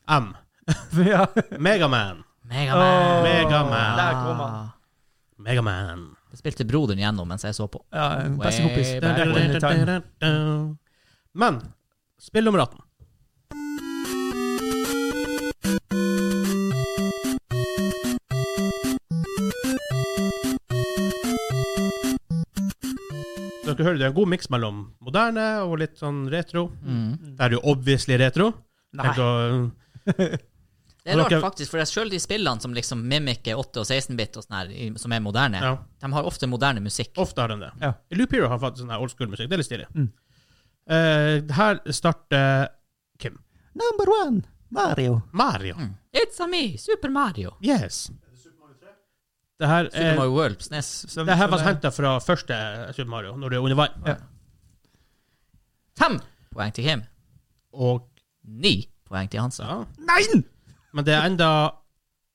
Speaker 1: M.
Speaker 3: Ja.
Speaker 1: Megaman.
Speaker 4: Megaman.
Speaker 3: Åh,
Speaker 1: Megaman.
Speaker 3: Der kom han.
Speaker 1: Megaman.
Speaker 4: Det spilte broderen gjennom mens jeg så på.
Speaker 3: Ja, en beste kompis.
Speaker 4: Way
Speaker 3: Back
Speaker 4: back
Speaker 3: in the time.
Speaker 1: Men spill nummer 18. Dere hører det er en god miks mellom moderne og litt sånn retro.
Speaker 4: Mm.
Speaker 1: Det er jo obviously retro.
Speaker 3: Nei.
Speaker 1: Tenk å-
Speaker 4: Det er rart,
Speaker 1: Dere-
Speaker 4: faktisk, for selv de spillene som liksom mimikker 8- og 16-bit, og sånn her, i- som er moderne,
Speaker 1: ja,
Speaker 4: de har ofte moderne musikk.
Speaker 1: ofte har de det.
Speaker 3: Ja.
Speaker 1: Loop Hero har faktisk sånn her old school-musikk. Det er litt stilig.
Speaker 3: Mm.
Speaker 1: Eh, her starter Kim.
Speaker 3: Number one, Mario.
Speaker 1: Mario.
Speaker 4: Mm. It's a me, Super Mario.
Speaker 1: Yes.
Speaker 5: Er det Super Mario 3?
Speaker 1: Det her
Speaker 4: Super
Speaker 3: Eh.
Speaker 1: er
Speaker 4: Mario World på SNES.
Speaker 3: Som-
Speaker 1: Det her
Speaker 3: som
Speaker 1: var
Speaker 3: er-
Speaker 1: henta fra første Super Mario, når du er under vann.
Speaker 3: Ja.
Speaker 4: Fem poeng til Kim.
Speaker 1: Og
Speaker 4: Ni poeng til Hansa.
Speaker 1: ja.
Speaker 3: Nei!
Speaker 1: Men det er enda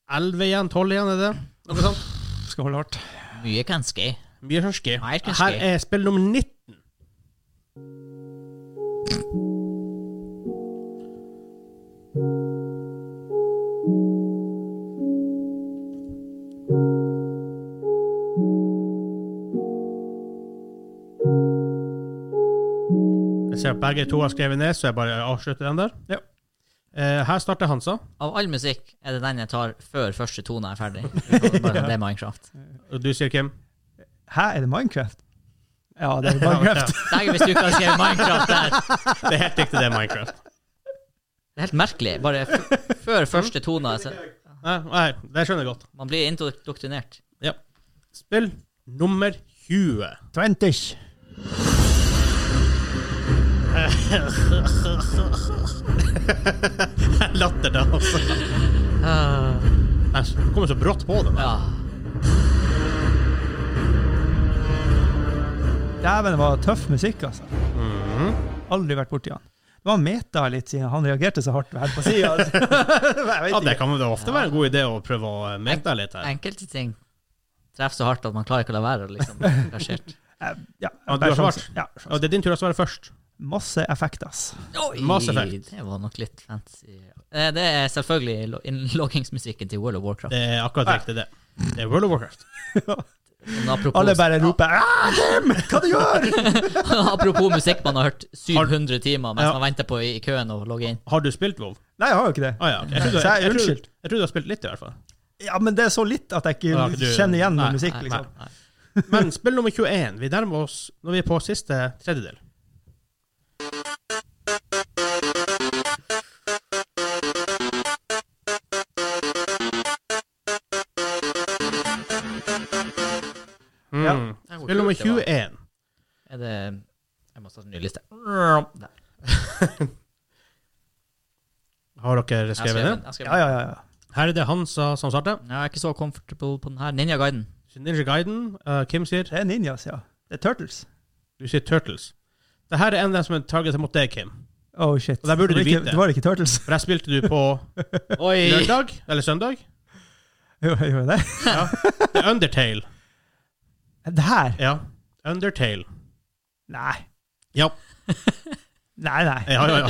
Speaker 1: 11 igjen, 12 igjen, er det? Noe sånt.
Speaker 3: Skal holde hardt.
Speaker 4: Mye kanskje.
Speaker 1: Mye hørske.
Speaker 4: Nei, jeg skal
Speaker 1: Her
Speaker 4: ske.
Speaker 1: er spill nummer 19. Jeg ser at begge to har skrevet ned, så jeg bare avslutter den der.
Speaker 3: Ja.
Speaker 1: Eh, her starter Hansa.
Speaker 4: Av all musikk er det den jeg tar før første tone er ferdig. Bare det er Minecraft.
Speaker 1: Og du sier Kim.
Speaker 3: Hæ, er det Minecraft? Ja, det er Minecraft.
Speaker 4: Dægen, hvis du ikke hadde skrevet Minecraft der
Speaker 1: Det er helt riktig, det er Minecraft.
Speaker 4: Det er helt merkelig. Bare f før første tone. Så
Speaker 1: Nei, nei, det skjønner jeg godt.
Speaker 4: man blir indoktrinert.
Speaker 1: Ja. Spill nummer 20.
Speaker 3: Twentish.
Speaker 1: Latter da, altså. Nei, du kommer så brått på det.
Speaker 4: Ja.
Speaker 3: Dæven, det var tøff musikk, altså. Aldri vært borti han. Det var meta litt, siden han reagerte så hardt her på sida. Altså. Jeg vet
Speaker 1: Ja, det
Speaker 3: ikke.
Speaker 1: kan jo ofte være en god idé å prøve å mete litt her.
Speaker 4: Enkelte ting treffer så hardt at man klarer ikke å la være. å Liksom, bli engasjert.
Speaker 3: Eh, Ja,
Speaker 1: Ja, du
Speaker 3: bare
Speaker 1: har svart.
Speaker 3: sjanse. Ja, sjanse.
Speaker 1: Og det er din tur å svare først.
Speaker 3: Masse effekt, ass.
Speaker 4: Oi,
Speaker 1: Mass Effect.
Speaker 4: Det var nok litt fancy. Eh, Det er selvfølgelig lo- innloggingsmusikken til World of Warcraft.
Speaker 1: Det er akkurat riktig, det. Det er World of Warcraft.
Speaker 4: Men apropos,
Speaker 3: Alle bare roper «Ah, Jim, hva du gjør?!
Speaker 4: apropos musikk man har hørt 700 timer mens
Speaker 1: Ja.
Speaker 4: man venter på i, i køen å logge inn.
Speaker 1: Har du spilt WoW?
Speaker 3: Nei, jeg har jo ikke det.
Speaker 1: Ah, ja. ok. jeg, tror du,
Speaker 3: Så jeg-
Speaker 1: jeg, jeg, tror-
Speaker 3: unnskyld.
Speaker 1: jeg tror du har spilt litt, i hvert fall.
Speaker 3: Ja, men det er så litt at jeg ikke
Speaker 1: Ja, du-
Speaker 3: kjenner igjen
Speaker 1: nei,
Speaker 3: noe musikk,
Speaker 4: nei,
Speaker 3: liksom.
Speaker 4: nei.
Speaker 1: Men spill nummer 21. Vi nærmer oss når vi er på siste tredjedel. Mm. Spill nummer 21.
Speaker 4: Er det Jeg må starte en ny liste. Der.
Speaker 1: Har dere
Speaker 4: Jeg
Speaker 1: skrevet det?
Speaker 4: den, jeg skrev
Speaker 3: Ja,
Speaker 4: den.
Speaker 3: ja, ja. ja.
Speaker 1: Her er det Hansa som starter.
Speaker 4: Jeg er ikke så comfortable på den her. Ninja Guiden.
Speaker 1: Ninja Guiden. eh, Kim sier
Speaker 3: Det er ninjas, ja. Det er turtles.
Speaker 1: Du sier Turtles. Dette er en av dem som er targetet mot deg, Kim.
Speaker 3: Oh, shit.
Speaker 1: Og det burde
Speaker 3: Det var
Speaker 1: du
Speaker 3: ikke-
Speaker 1: vite.
Speaker 3: Det var ikke turtles.
Speaker 1: For jeg spilte du på
Speaker 4: Oi!
Speaker 1: lørdag, eller søndag.
Speaker 3: Jo, jeg gjorde det.
Speaker 1: Det er Undertale.
Speaker 3: Det her?
Speaker 1: Ja. Undertale.
Speaker 3: Nei.
Speaker 1: Ja.
Speaker 3: Nei, nei.
Speaker 1: Ja, ja, ja.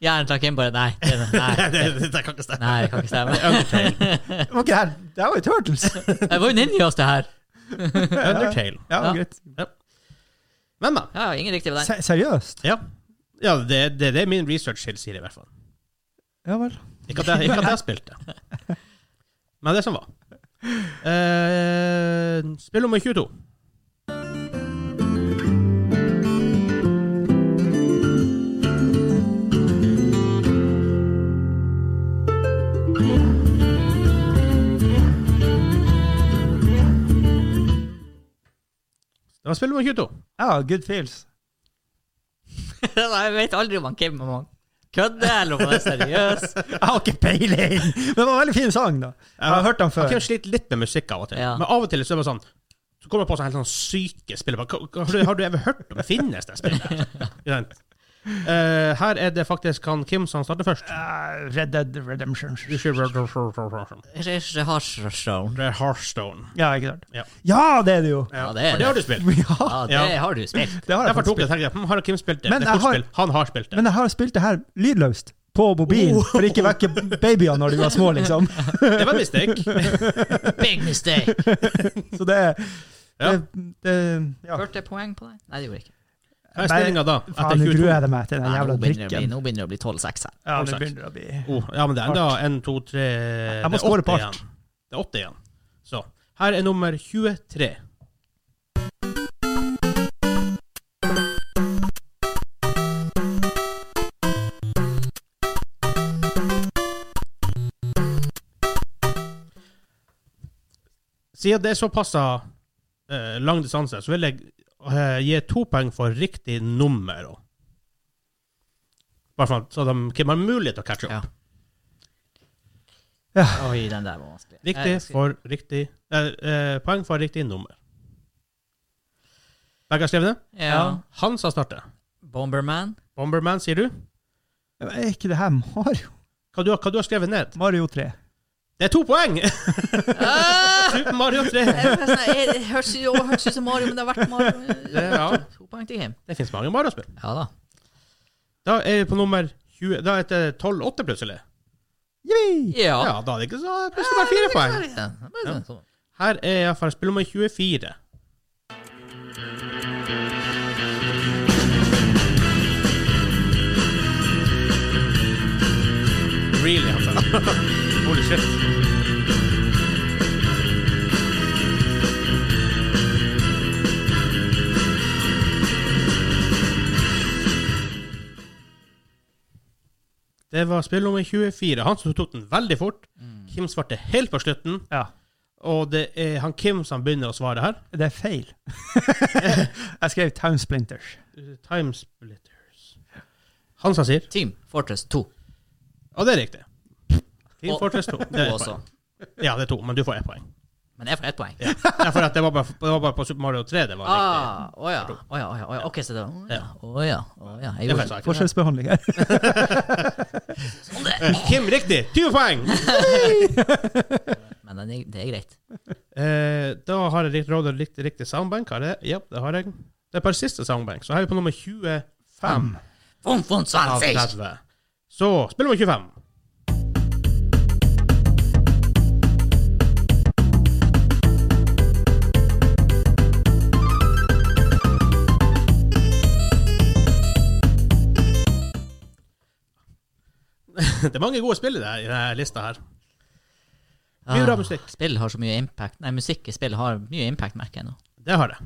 Speaker 4: Hjernen tar Kim bare Nei, det, nei,
Speaker 1: det, det, det kan ikke stemme.
Speaker 4: nei, det kan ikke stemme.
Speaker 1: Undertale.
Speaker 3: Det var ikke her. Det her var jo turtles.
Speaker 4: Det var jo ninjas, det her.
Speaker 1: Undertale.
Speaker 3: Ja,
Speaker 4: Ja.
Speaker 3: greit.
Speaker 1: Men, men.
Speaker 4: Ja, ingen riktig på den.
Speaker 3: Se seriøst?
Speaker 1: Ja. Ja, det er det, det er min research tilsier, i hvert fall.
Speaker 3: Ja vel.
Speaker 1: Ikke at jeg, ikke at jeg spilte. Men det som var. Eh, spill nummer 22. Hva spiller man i Q2?
Speaker 3: Ja, good feels.
Speaker 4: Jeg vet aldri om han Kim om han kødder, eller om han er seriøs.
Speaker 3: Jeg har ikke peiling! Men det var en veldig fin sang, da. Jeg har hørt den
Speaker 1: Man
Speaker 3: før.
Speaker 1: kan slite litt med musikk av og til.
Speaker 4: Ja.
Speaker 1: Men av og til så er det bare sånn Så kommer man på sånne helt sånn syke spill. Bare, hva- hva- Har, du- har du ever hørt om det finnes det spillet? Ikke sant? Eh, her er det faktisk han Kim som starter først.
Speaker 3: Eh, Red Dead Redemption.
Speaker 1: Det er
Speaker 4: Jeg har sjøsjon.
Speaker 1: Hearthstone.
Speaker 3: Ja, ikke sant?
Speaker 1: Ja.
Speaker 3: Ja, det er det jo!
Speaker 4: Ja, det er
Speaker 1: For det har du spilt.
Speaker 3: Ja,
Speaker 4: Ah, Ja, det
Speaker 1: Ja.
Speaker 4: har du spilt.
Speaker 3: det har jeg
Speaker 1: Derfor
Speaker 3: faktisk
Speaker 1: tok
Speaker 3: spilt.
Speaker 1: jeg tenkte, hm, har Kim spilt det?
Speaker 3: Men
Speaker 1: det er
Speaker 3: jeg har-
Speaker 1: kortspill. Han har spilt det.
Speaker 3: Men jeg har spilt det her lydløst på mobilen,
Speaker 4: Oh.
Speaker 3: for ikke vekke babyer når de var små, liksom.
Speaker 1: Det var en mistake.
Speaker 4: Big mistake.
Speaker 3: Så det er
Speaker 1: Ja.
Speaker 3: det, det, ja.
Speaker 4: Hørte jeg poeng på deg? Nei, det gjorde jeg ikke.
Speaker 1: Hva er stillinga da?
Speaker 3: Faen, nå
Speaker 1: Etter
Speaker 3: gruer
Speaker 1: 22?
Speaker 3: jeg meg til den
Speaker 4: Nei,
Speaker 3: jævla
Speaker 4: nå, begynner det å bli,
Speaker 3: drikken.
Speaker 4: nå begynner det å bli 12-6 her.
Speaker 3: Ja, nå begynner det å bli
Speaker 1: Oh, ja, men det er enda 1, 2, 3
Speaker 3: Jeg må
Speaker 1: det er
Speaker 3: score
Speaker 1: åtte
Speaker 3: på
Speaker 1: igjen.
Speaker 3: alt.
Speaker 1: Det er åtte igjen. Så. Her er nummer 23. Siden det er såpass eh, lang distanse, så vil jeg eh, gi to poeng for riktig nummer. også. Bare for, at- så de kan ha mulighet til å catche opp.
Speaker 4: Ja. Oi, den der var vanskelig.
Speaker 1: Riktig
Speaker 4: Jeg skal-
Speaker 1: for riktig eh, eh, Poeng for riktig nummer. Begge har skrevet det.
Speaker 4: Eh, Ja.
Speaker 1: Han sa starte.
Speaker 4: Bomberman.
Speaker 1: Bomberman, sier du?
Speaker 3: Er ikke det her Mario?
Speaker 1: Hva du, har- hva du har skrevet ned?
Speaker 3: Mario 3.
Speaker 1: Det er to poeng!
Speaker 4: Ah!
Speaker 1: Super Mario 3.
Speaker 4: Det hørtes jo- hørtes ut som Mario, men det har vært Mario.
Speaker 1: Det, ja.
Speaker 4: To poeng til Kim.
Speaker 1: det fins mange Mario-spill.
Speaker 4: Ja da.
Speaker 1: Da er vi på nummer 20 Da er det 12-8, plutselig.
Speaker 3: Yippee!
Speaker 4: Ja.
Speaker 1: Ja, da er det ikke så plutselig bare fire poeng.
Speaker 4: sånn.
Speaker 1: Her er iallfall spill nummer 24. Really, altså. Holy shit. Det var spill nummer 24. Han som tok den veldig fort. Kim svarte helt på slutten.
Speaker 3: Ja.
Speaker 1: Og det er han Kim som begynner å svare her.
Speaker 3: Det er feil. jeg skrev Town Splinters.
Speaker 1: Time Splitters. Han som sier.
Speaker 4: Team Fortress 2.
Speaker 1: Og det er riktig. Team
Speaker 4: Og-
Speaker 1: Fortress 2.
Speaker 4: To
Speaker 1: Det er et
Speaker 4: også.
Speaker 1: poeng. Ja, det er to, men du får ett poeng.
Speaker 4: Men jeg får ett poeng.
Speaker 1: Ja, for at det, var bare, det var bare på Super Mario 3 det var riktig.
Speaker 4: Ah, å ja. Å ja, å ja, å ja. Ok, så det var Å ja, å ja. Å ja. Jeg
Speaker 1: Det var
Speaker 4: gjorde
Speaker 1: en sak.
Speaker 3: Forskjellsbehandling her.
Speaker 1: Eh, Kim, riktig! 20 poeng!
Speaker 4: det. Men den er, det er greit.
Speaker 1: Eh, da har jeg riktig råd og riktig, riktig soundbank. Har jeg? Ja, det har jeg. Det er bare siste soundbank, så her er vi på nummer 25
Speaker 4: Fon, fon,
Speaker 1: av
Speaker 4: svansisch.
Speaker 1: 30. Så spill nummer 25. Det er mange gode spill i det her- i denne lista her. Mye bra musikk.
Speaker 4: Ah, Spill har så mye impact. Nei, musikk i spill har mye impact, merker jeg nå.
Speaker 1: Det har det.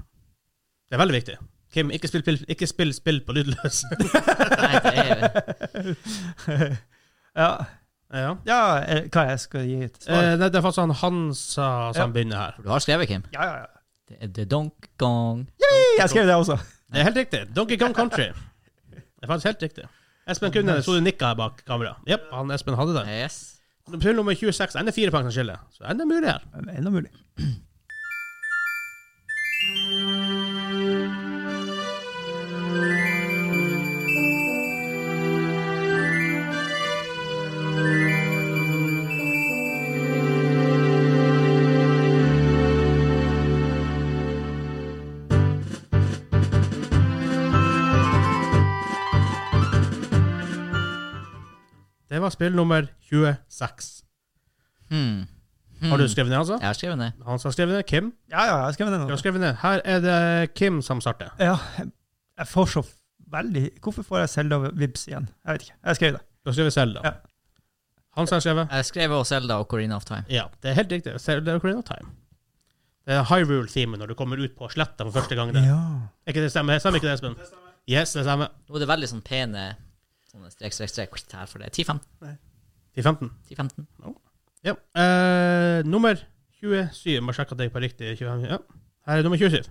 Speaker 1: Det er veldig viktig. Kim, ikke spill spill, ikke spill, spill på lydløs.
Speaker 4: Nei, det er,
Speaker 3: Ja,
Speaker 1: ja.
Speaker 3: ja eh, hva jeg skal gi til svar?
Speaker 1: eh, nei, det er faktisk han Hansa som
Speaker 3: Ja.
Speaker 1: begynner her.
Speaker 4: for du har skrevet, Kim.
Speaker 3: Ja, ja, ja.
Speaker 4: Det er The Donk Gong.
Speaker 3: Yippee! Jeg skrev det også.
Speaker 1: Det er helt riktig. Donkey Kong Country. Det er faktisk helt riktig. Espen kunne jeg så du nikka her bak kamera. Jepp, han Espen hadde det.
Speaker 4: Yes.
Speaker 1: Spill nummer 26. Enda fire poeng som skiller. Så enda mulig her.
Speaker 3: Men Enda mulig.
Speaker 1: Det var spill nummer 26.
Speaker 4: Hmm.
Speaker 1: Har du skrevet ned, altså?
Speaker 4: Jeg har skrevet det.
Speaker 1: Han som har skrevet ned. Kim?
Speaker 3: Ja, ja, jeg skrev det
Speaker 1: Du
Speaker 3: nå.
Speaker 1: har skrevet ned. Her er det Kim som starter.
Speaker 3: Ja, jeg får så veldig Hvorfor får jeg Selda-vibs igjen? Jeg vet ikke. Jeg skrev det.
Speaker 1: Du har skrevet Selda.
Speaker 3: Ja.
Speaker 1: Han som har skrevet
Speaker 4: Jeg skrev også Zelda og Corina of Time.
Speaker 1: Ja, det er helt riktig. Zelda Ocarina of Time. Det er high rule-teamet når du kommer ut på sletta for første gang. der.
Speaker 3: Ja.
Speaker 1: Er ikke det stemmer? Stemmer ikke det, Espen? Yes, det stemmer.
Speaker 4: Nå er det veldig sånn pene sånne strek, strek, strek kvitt her for det. 10-15.
Speaker 1: 10-15.
Speaker 4: 10-15.
Speaker 1: Ja. Eh, nummer 27. Må sjekke at jeg er på riktig 25. Ja. Her er nummer 27.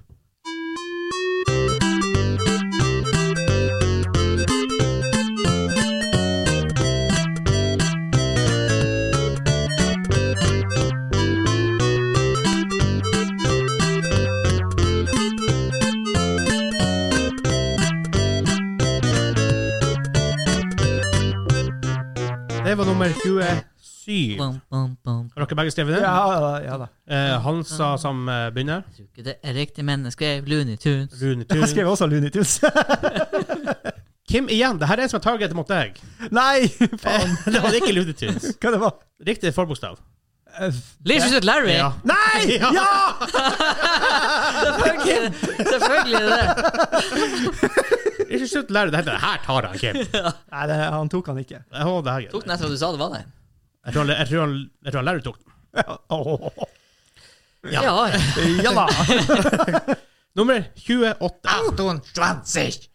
Speaker 1: Det var nummer 27.
Speaker 4: Bum, bum, bum.
Speaker 1: Har dere begge skrevet det?
Speaker 3: Ja, da, ja da.
Speaker 1: Eh, Hansa som eh, begynner.
Speaker 4: Jeg tror ikke det er riktig, men jeg skrev Looney Tunes.
Speaker 1: Rune
Speaker 3: Jeg
Speaker 1: Tunes.
Speaker 3: skrev også Looney Tunes.
Speaker 1: Kim igjen. Det her er en som er target mot deg.
Speaker 3: Nei, faen!
Speaker 1: det var ikke Rune Tunes.
Speaker 3: Hva det var
Speaker 1: Riktig forbokstav.
Speaker 3: F-
Speaker 4: Leisure Suit Larry!
Speaker 1: Ja.
Speaker 3: Nei!
Speaker 1: Ja!
Speaker 3: Ja!
Speaker 4: Selvfølgelig, selvfølgelig er det det.
Speaker 1: Ikke slutt å lære deg dette. Her tar han Kim.
Speaker 3: Nei, det, han tok han ikke.
Speaker 1: Jeg håper det her er
Speaker 4: Tok
Speaker 1: greit.
Speaker 4: den etter at du sa det var det?
Speaker 1: Jeg tror han- jeg tror han- jeg tror han Larry tok den.
Speaker 3: Åh.
Speaker 4: Ja.
Speaker 3: Ja da!
Speaker 1: Nummer 28.
Speaker 2: 28.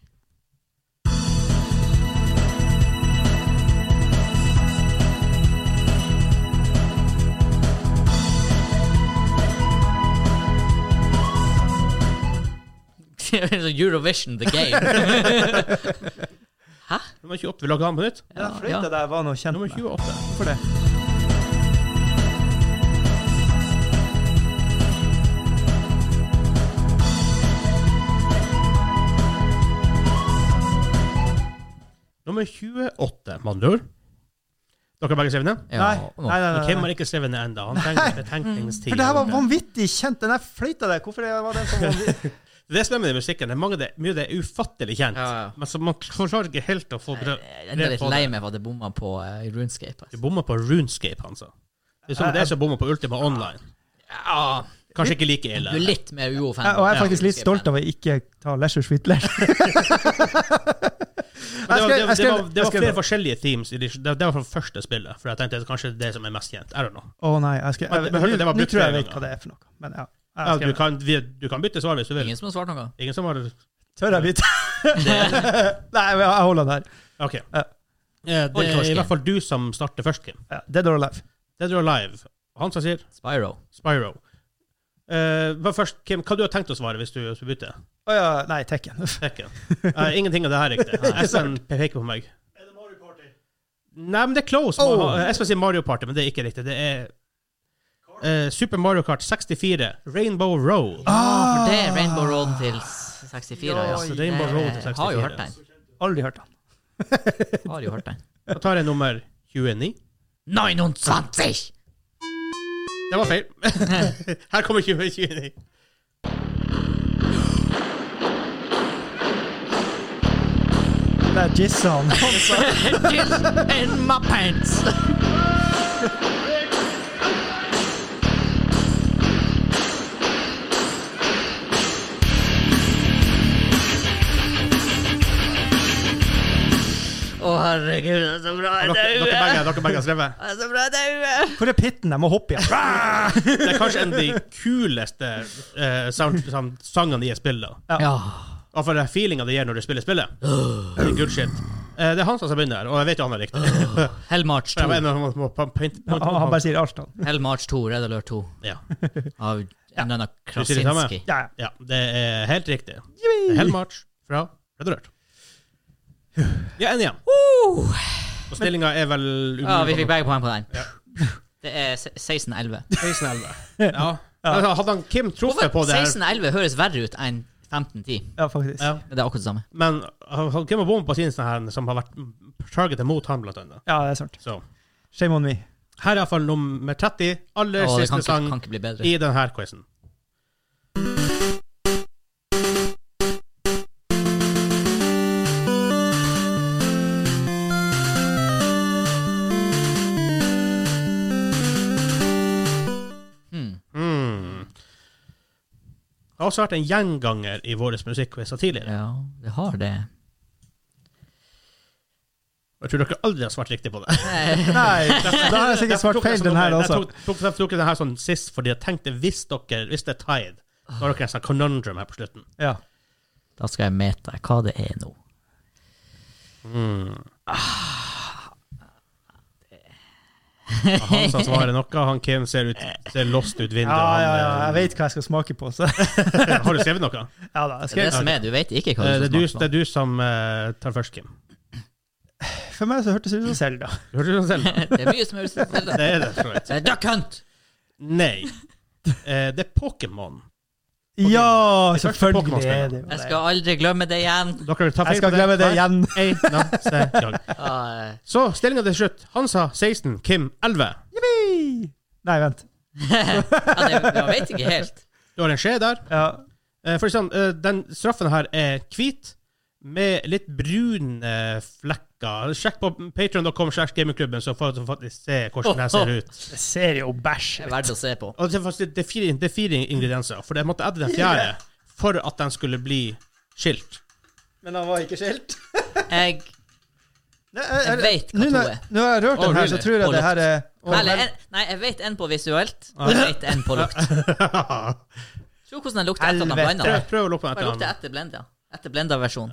Speaker 4: Så sånn Eurovision the game.
Speaker 1: Nummer 28. Vil dere ha den på nytt?
Speaker 3: Den
Speaker 4: ja.
Speaker 3: fløyta der var noe kjent
Speaker 1: Nummer
Speaker 3: med.
Speaker 1: 28.
Speaker 3: Hvorfor det?
Speaker 1: Nummer 28, med andre ord. Dere begge skrevet ned?
Speaker 4: Ja,
Speaker 3: Nei,
Speaker 4: nå.
Speaker 3: nei, nei.
Speaker 1: Men
Speaker 3: nei,
Speaker 1: Kim
Speaker 3: nei.
Speaker 1: har ikke skrevet ned ennå. Han trenger betenkningstid.
Speaker 3: For det her var vanvittig kjent. Den der fløyta der, hvorfor det var den som var
Speaker 1: eh, Det er som er med den musikken. Det er mange det, mye det er ufattelig kjent.
Speaker 4: Ja, ja.
Speaker 1: Men så man klarer ikke helt å få
Speaker 4: Jeg er enda litt lei meg for at jeg bomma på eh, RuneScape.
Speaker 1: Du
Speaker 4: Altså.
Speaker 1: bomma på Runescape, han sa. Det er som det som bommer på Ultima Online.
Speaker 4: Ja,
Speaker 1: Kanskje ikke like
Speaker 4: du
Speaker 1: ille.
Speaker 4: er litt mer UO-fan.
Speaker 3: Jeg- Og jeg er faktisk litt stolt av å ikke ta Leisure Suite Larry.
Speaker 1: Men det, var, det,
Speaker 3: Jeg
Speaker 1: var, det, var,
Speaker 3: skrev-
Speaker 1: det
Speaker 3: jeg
Speaker 1: var
Speaker 3: skrev
Speaker 1: flere
Speaker 3: det.
Speaker 1: forskjellige teams. I de, det, det var fra første spillet. For jeg tenkte det er kanskje det som er mest kjent. I don't know.
Speaker 3: Å nei, jeg skrev
Speaker 1: Men- men hørte du det var
Speaker 3: Nå tror jeg jeg
Speaker 1: brukt
Speaker 3: vet hva det er for noe. Men ja.
Speaker 1: Ja,
Speaker 3: Jeg skrev
Speaker 1: du,
Speaker 3: det.
Speaker 1: kan, vi, du kan bytte svar hvis du vil.
Speaker 4: Ingen som har svart noe.
Speaker 1: Ingen som har
Speaker 3: Tør jeg bytte? Nei, men jeg holder den her.
Speaker 1: OK.
Speaker 3: Ja.
Speaker 1: Eh, Det
Speaker 4: Hold
Speaker 1: er i
Speaker 4: torsken.
Speaker 1: hvert fall du som starter først, Kim.
Speaker 3: Ja, Dead or Alive.
Speaker 1: Dead or Alive. Han som sier
Speaker 4: Spyro.
Speaker 1: Spyro. Eh, hva først, Kim, hva du har tenkt å svare hvis du skal bytte?
Speaker 3: Å ja, nei, Tekken. Uff.
Speaker 1: Tekken. Eh, ingenting av det her er riktig. Espen peker på meg.
Speaker 5: Er det Mario Party?
Speaker 1: Nei, men det er close.
Speaker 3: Oh.
Speaker 1: Eh, Espen sier Mario Party, men det er ikke riktig. Det er eh, Super Mario Kart 64, Rainbow Road.
Speaker 4: Ja, for det er Rainbow Road til 64. Ja,
Speaker 3: Ja,
Speaker 1: så Rainbow
Speaker 4: Det-
Speaker 1: Road til
Speaker 4: jeg Har jo
Speaker 1: 64.
Speaker 4: hørt den.
Speaker 3: Aldri hørt den.
Speaker 4: Har jo hørt den.
Speaker 1: Da tar jeg nummer 29.
Speaker 4: 29!
Speaker 1: Det var feil. Her kommer 2029.
Speaker 3: Det er Jizz-han.
Speaker 4: Jizz in my pants. Å, herregud, det er så bra i
Speaker 1: Dere, dere
Speaker 4: dauet!
Speaker 1: begge dere begge har skrevet.
Speaker 4: Det er så bra i dauet!
Speaker 3: Hvor er pitten? Jeg må hoppe igjen.
Speaker 1: Det er kanskje en av de kuleste eh, sound, sound, sangene i spillet.
Speaker 4: Ja.
Speaker 1: Og for den feelinga det gir når du spiller spillet. Det er Good shit. Eh, det er Hansa som begynner, og jeg vet jo han er riktig. For
Speaker 4: Hellmarch
Speaker 1: jeg var
Speaker 4: 2.
Speaker 1: en av dem som må pa- paint-
Speaker 3: Han,
Speaker 1: paint-
Speaker 3: han bare sier alt, han.
Speaker 4: Hellmarch 2, Red Alert 2
Speaker 1: Ja.
Speaker 4: av en eller annen
Speaker 1: Du sier det samme?
Speaker 4: Krasinski.
Speaker 3: Ja, ja.
Speaker 1: ja, det er helt riktig. Hellmarch fra Red Alert. Ja, en igjen.
Speaker 4: Uh,
Speaker 1: Og stillinga er vel
Speaker 4: ja, vi fikk begge poeng på den. Det er se- 16-11.
Speaker 1: 16-11. Ja. Altså, Hadde han Kim truffet på det her
Speaker 4: 16-11 høres verre ut enn 15-10.
Speaker 3: Ja, faktisk.
Speaker 1: Ja.
Speaker 3: Ja,
Speaker 4: Men det er akkurat det samme.
Speaker 1: Men han han Kim har bommet på sin sånn her, som har vært targetet mot han, blant annet.
Speaker 3: det er sant.
Speaker 1: Så
Speaker 3: Shame on me.
Speaker 1: her er iallfall nummer 30, aller
Speaker 4: Å, det
Speaker 1: siste
Speaker 4: kan ikke,
Speaker 1: sang
Speaker 4: kan ikke bli bedre.
Speaker 1: i denne quizen.
Speaker 4: Hmm.
Speaker 1: Mm. Det har også vært en gjenganger i våre musikkquizer tidligere.
Speaker 4: Ja, det har det.
Speaker 1: Jeg tror dere aldri har svart riktig på det.
Speaker 3: Nei, da har jeg sikkert svart
Speaker 1: Tok jeg
Speaker 3: feil
Speaker 1: som
Speaker 3: den her
Speaker 1: nummer-
Speaker 3: også.
Speaker 1: Jeg tok, tok, tok, tok den her sånn sist fordi jeg tenkte hvis dere Hvis det er tied, så har dere en sånn conundrum her på slutten.
Speaker 3: Ja.
Speaker 4: Da skal jeg mete hva det er nå.
Speaker 1: Han som svarer noe, han Kim ser, ut, ser lost ut vinduet.
Speaker 3: Ja, ja, ja, jeg
Speaker 1: han,
Speaker 3: vet hva jeg skal smake på, så
Speaker 1: eh, har du skrevet noe?
Speaker 3: ja da. Jeg
Speaker 4: Det er det
Speaker 3: skrev,
Speaker 4: som er, du vet ikke hva
Speaker 1: Eh,
Speaker 4: du
Speaker 1: Det er du, det
Speaker 4: skal smake på.
Speaker 1: er du som eh, tar først, Kim.
Speaker 3: for meg så hørtes det ut som Selda.
Speaker 1: Hørte du det selv?
Speaker 4: Det er mye som høres ut som
Speaker 1: Det
Speaker 4: det.
Speaker 1: er det. for så vidt.
Speaker 4: Det er Duck Hunt!
Speaker 1: Nei. Eh, Det er Pokémon.
Speaker 3: Ja,
Speaker 1: første
Speaker 3: selvfølgelig
Speaker 1: Pokémon-spillet.
Speaker 3: er det jo
Speaker 4: Jeg
Speaker 3: det.
Speaker 4: skal aldri glemme det igjen.
Speaker 1: Dere tar
Speaker 3: Jeg
Speaker 1: feil
Speaker 3: skal
Speaker 1: på
Speaker 3: glemme det
Speaker 1: Hver
Speaker 3: igjen.
Speaker 1: Eneste gang.
Speaker 4: Ah, eh,
Speaker 1: Så stillinga til slutt. Hansa 16, Kim 11.
Speaker 3: Yippee! Nei, vent.
Speaker 4: ja, det, jeg vet ikke helt.
Speaker 1: Du har en skje der.
Speaker 3: Ja.
Speaker 1: Eh, For eksempel, eh, den straffen her er hvit med litt brune eh, flekker. Sjekk på patreon.com slash gamingklubben, så får du faktisk se hvordan den ser ut.
Speaker 3: Det ser jo bæsj
Speaker 4: Det er
Speaker 3: ut.
Speaker 4: verdt å se på.
Speaker 1: Og det er faktisk det er fire, det er fire ingredienser, for jeg måtte edde den fjerde for at den skulle bli skilt.
Speaker 3: Men han var ikke skilt.
Speaker 4: Jeg Jeg vet hva
Speaker 3: Nå
Speaker 4: to
Speaker 3: når
Speaker 4: er.
Speaker 3: nå har jeg rørt
Speaker 1: Oh,
Speaker 3: den her, så
Speaker 1: really?
Speaker 3: tror jeg
Speaker 4: Og
Speaker 3: det her er
Speaker 4: Nei, Eller, en, nei, jeg vet en på visuelt, og jeg vet en på lukt.
Speaker 1: Prøv
Speaker 4: Se hvordan den lukter etter at han blanda den.
Speaker 1: prøv å lukke den
Speaker 4: Den
Speaker 1: etter
Speaker 4: lukter
Speaker 1: den.
Speaker 4: etter blenda. Etter blenda-versjon.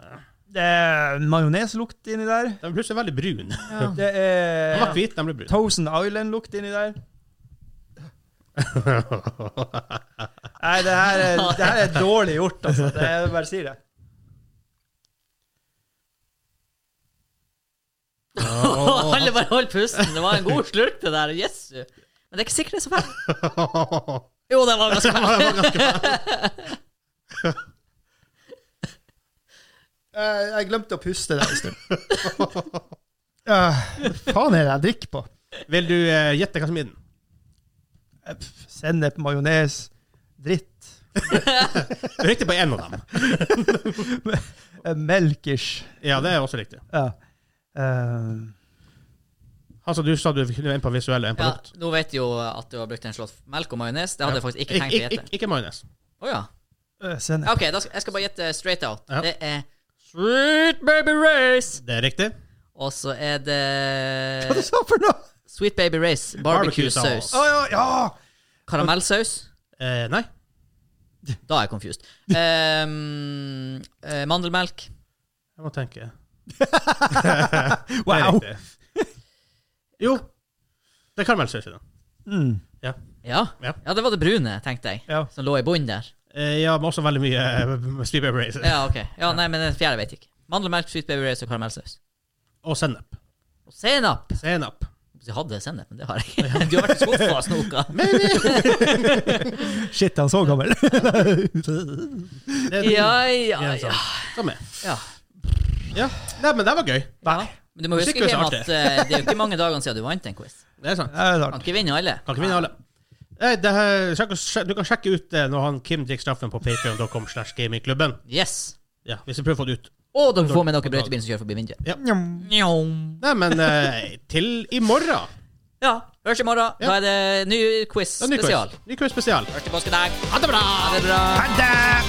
Speaker 3: Det er majoneslukt inni der.
Speaker 1: Den ble plutselig veldig brun.
Speaker 3: Det
Speaker 1: Den var
Speaker 3: er
Speaker 1: hvit, den ble brun.
Speaker 3: Thousand Island-lukt inni der. Nei, det her er, det her er dårlig gjort, altså. Det er, jeg bare sier det.
Speaker 4: Alle bare holdt pusten. Det var en god slurk, det der. Jesu. Men det er ikke sikkert det er så fælt. Jo, det var ganske fælt.
Speaker 3: Jeg, Eh, jeg glemte å puste der en stund. Hva faen er det jeg drikker på?
Speaker 1: Vil du eh, gjette hva som er i den?
Speaker 3: Eh, pff, Sennep, majones, dritt.
Speaker 1: Du er Riktig på én av dem.
Speaker 3: eh, Melkers.
Speaker 1: Ja, det er også riktig.
Speaker 3: Ja. Eh,
Speaker 1: Altså, du sa du kunne en på visuell og en på
Speaker 4: Ja,
Speaker 1: lukt.
Speaker 4: nå vet jeg jo at du har brukt en slått melk og majones. Det hadde jeg faktisk ikke
Speaker 1: Ik
Speaker 4: tenkt å
Speaker 1: ik
Speaker 4: gjette.
Speaker 1: ik ikke majones.
Speaker 4: Å ja.
Speaker 3: eh, sennep.
Speaker 4: Ja, OK, da skal, jeg skal bare gjette straight out.
Speaker 1: Ja.
Speaker 4: Det er Sweet Baby Race.
Speaker 1: Det er riktig.
Speaker 4: Og så er
Speaker 3: Hva du
Speaker 4: det
Speaker 3: sa for noe?
Speaker 4: Sweet Baby Race barbecue-saus.
Speaker 3: Å ja, ja!
Speaker 4: Karamellsaus.
Speaker 1: Eh, nei.
Speaker 4: Da er jeg confused. Ehm, eh, mandelmelk.
Speaker 1: Jeg må tenke. Det er
Speaker 3: Wow.
Speaker 1: riktig. Jo. Det er karamellsaus i den.
Speaker 3: Mm.
Speaker 1: Ja.
Speaker 4: Ja.
Speaker 1: Ja.
Speaker 4: ja, det var det brune, tenkte jeg,
Speaker 3: Ja.
Speaker 4: som lå i bunnen der.
Speaker 1: Eh, ja, men også veldig mye eh, sleep abrace.
Speaker 4: Ja, ok. Ja, nei, men den fjerde vet jeg ikke. Mandelmelk, sweet baby race og karamellsaus.
Speaker 1: Og sennep.
Speaker 4: Og sennep!
Speaker 1: Sennep.
Speaker 4: Jeg hadde sennep, men det har jeg ikke. Du har vært i skuffa og snoka.
Speaker 3: Shit, han så gammel.
Speaker 1: Det er
Speaker 4: eh, Ja, ja,
Speaker 1: Ja,
Speaker 4: ja.
Speaker 1: sånn. Samme.
Speaker 4: ja.
Speaker 1: Ja. Nei, men det var gøy.
Speaker 4: ja. Men du må huske
Speaker 1: Musikk er
Speaker 4: Kim,
Speaker 1: så
Speaker 4: at
Speaker 1: artig.
Speaker 4: eh, det er jo ikke mange dagene siden du vant en quiz.
Speaker 1: Det er sant.
Speaker 3: Ja, det er
Speaker 4: Kan
Speaker 3: rart.
Speaker 4: ikke vinne alle.
Speaker 1: Kan ikke vinne alle. Eh, det her, sjekk, sjekk, du kan sjekke ut det når han Kim drikker straffen på patreon.com slash gamingklubben.
Speaker 4: Yes.
Speaker 1: Ja, hvis vi prøver å få det ut.
Speaker 4: Og dere får med dere brøytebilen som kjører forbi vinduet.
Speaker 3: Njam.
Speaker 4: Njom.
Speaker 1: Nei, men eh, til i morgen.
Speaker 4: Ja. Høres i morgen. Da er det ny quiz
Speaker 1: Det er en ny
Speaker 4: spesial.
Speaker 1: quiz. Ny quiz spesial.
Speaker 4: Høres til påskedag. Ha det bra! Ha det bra.
Speaker 3: Ha det!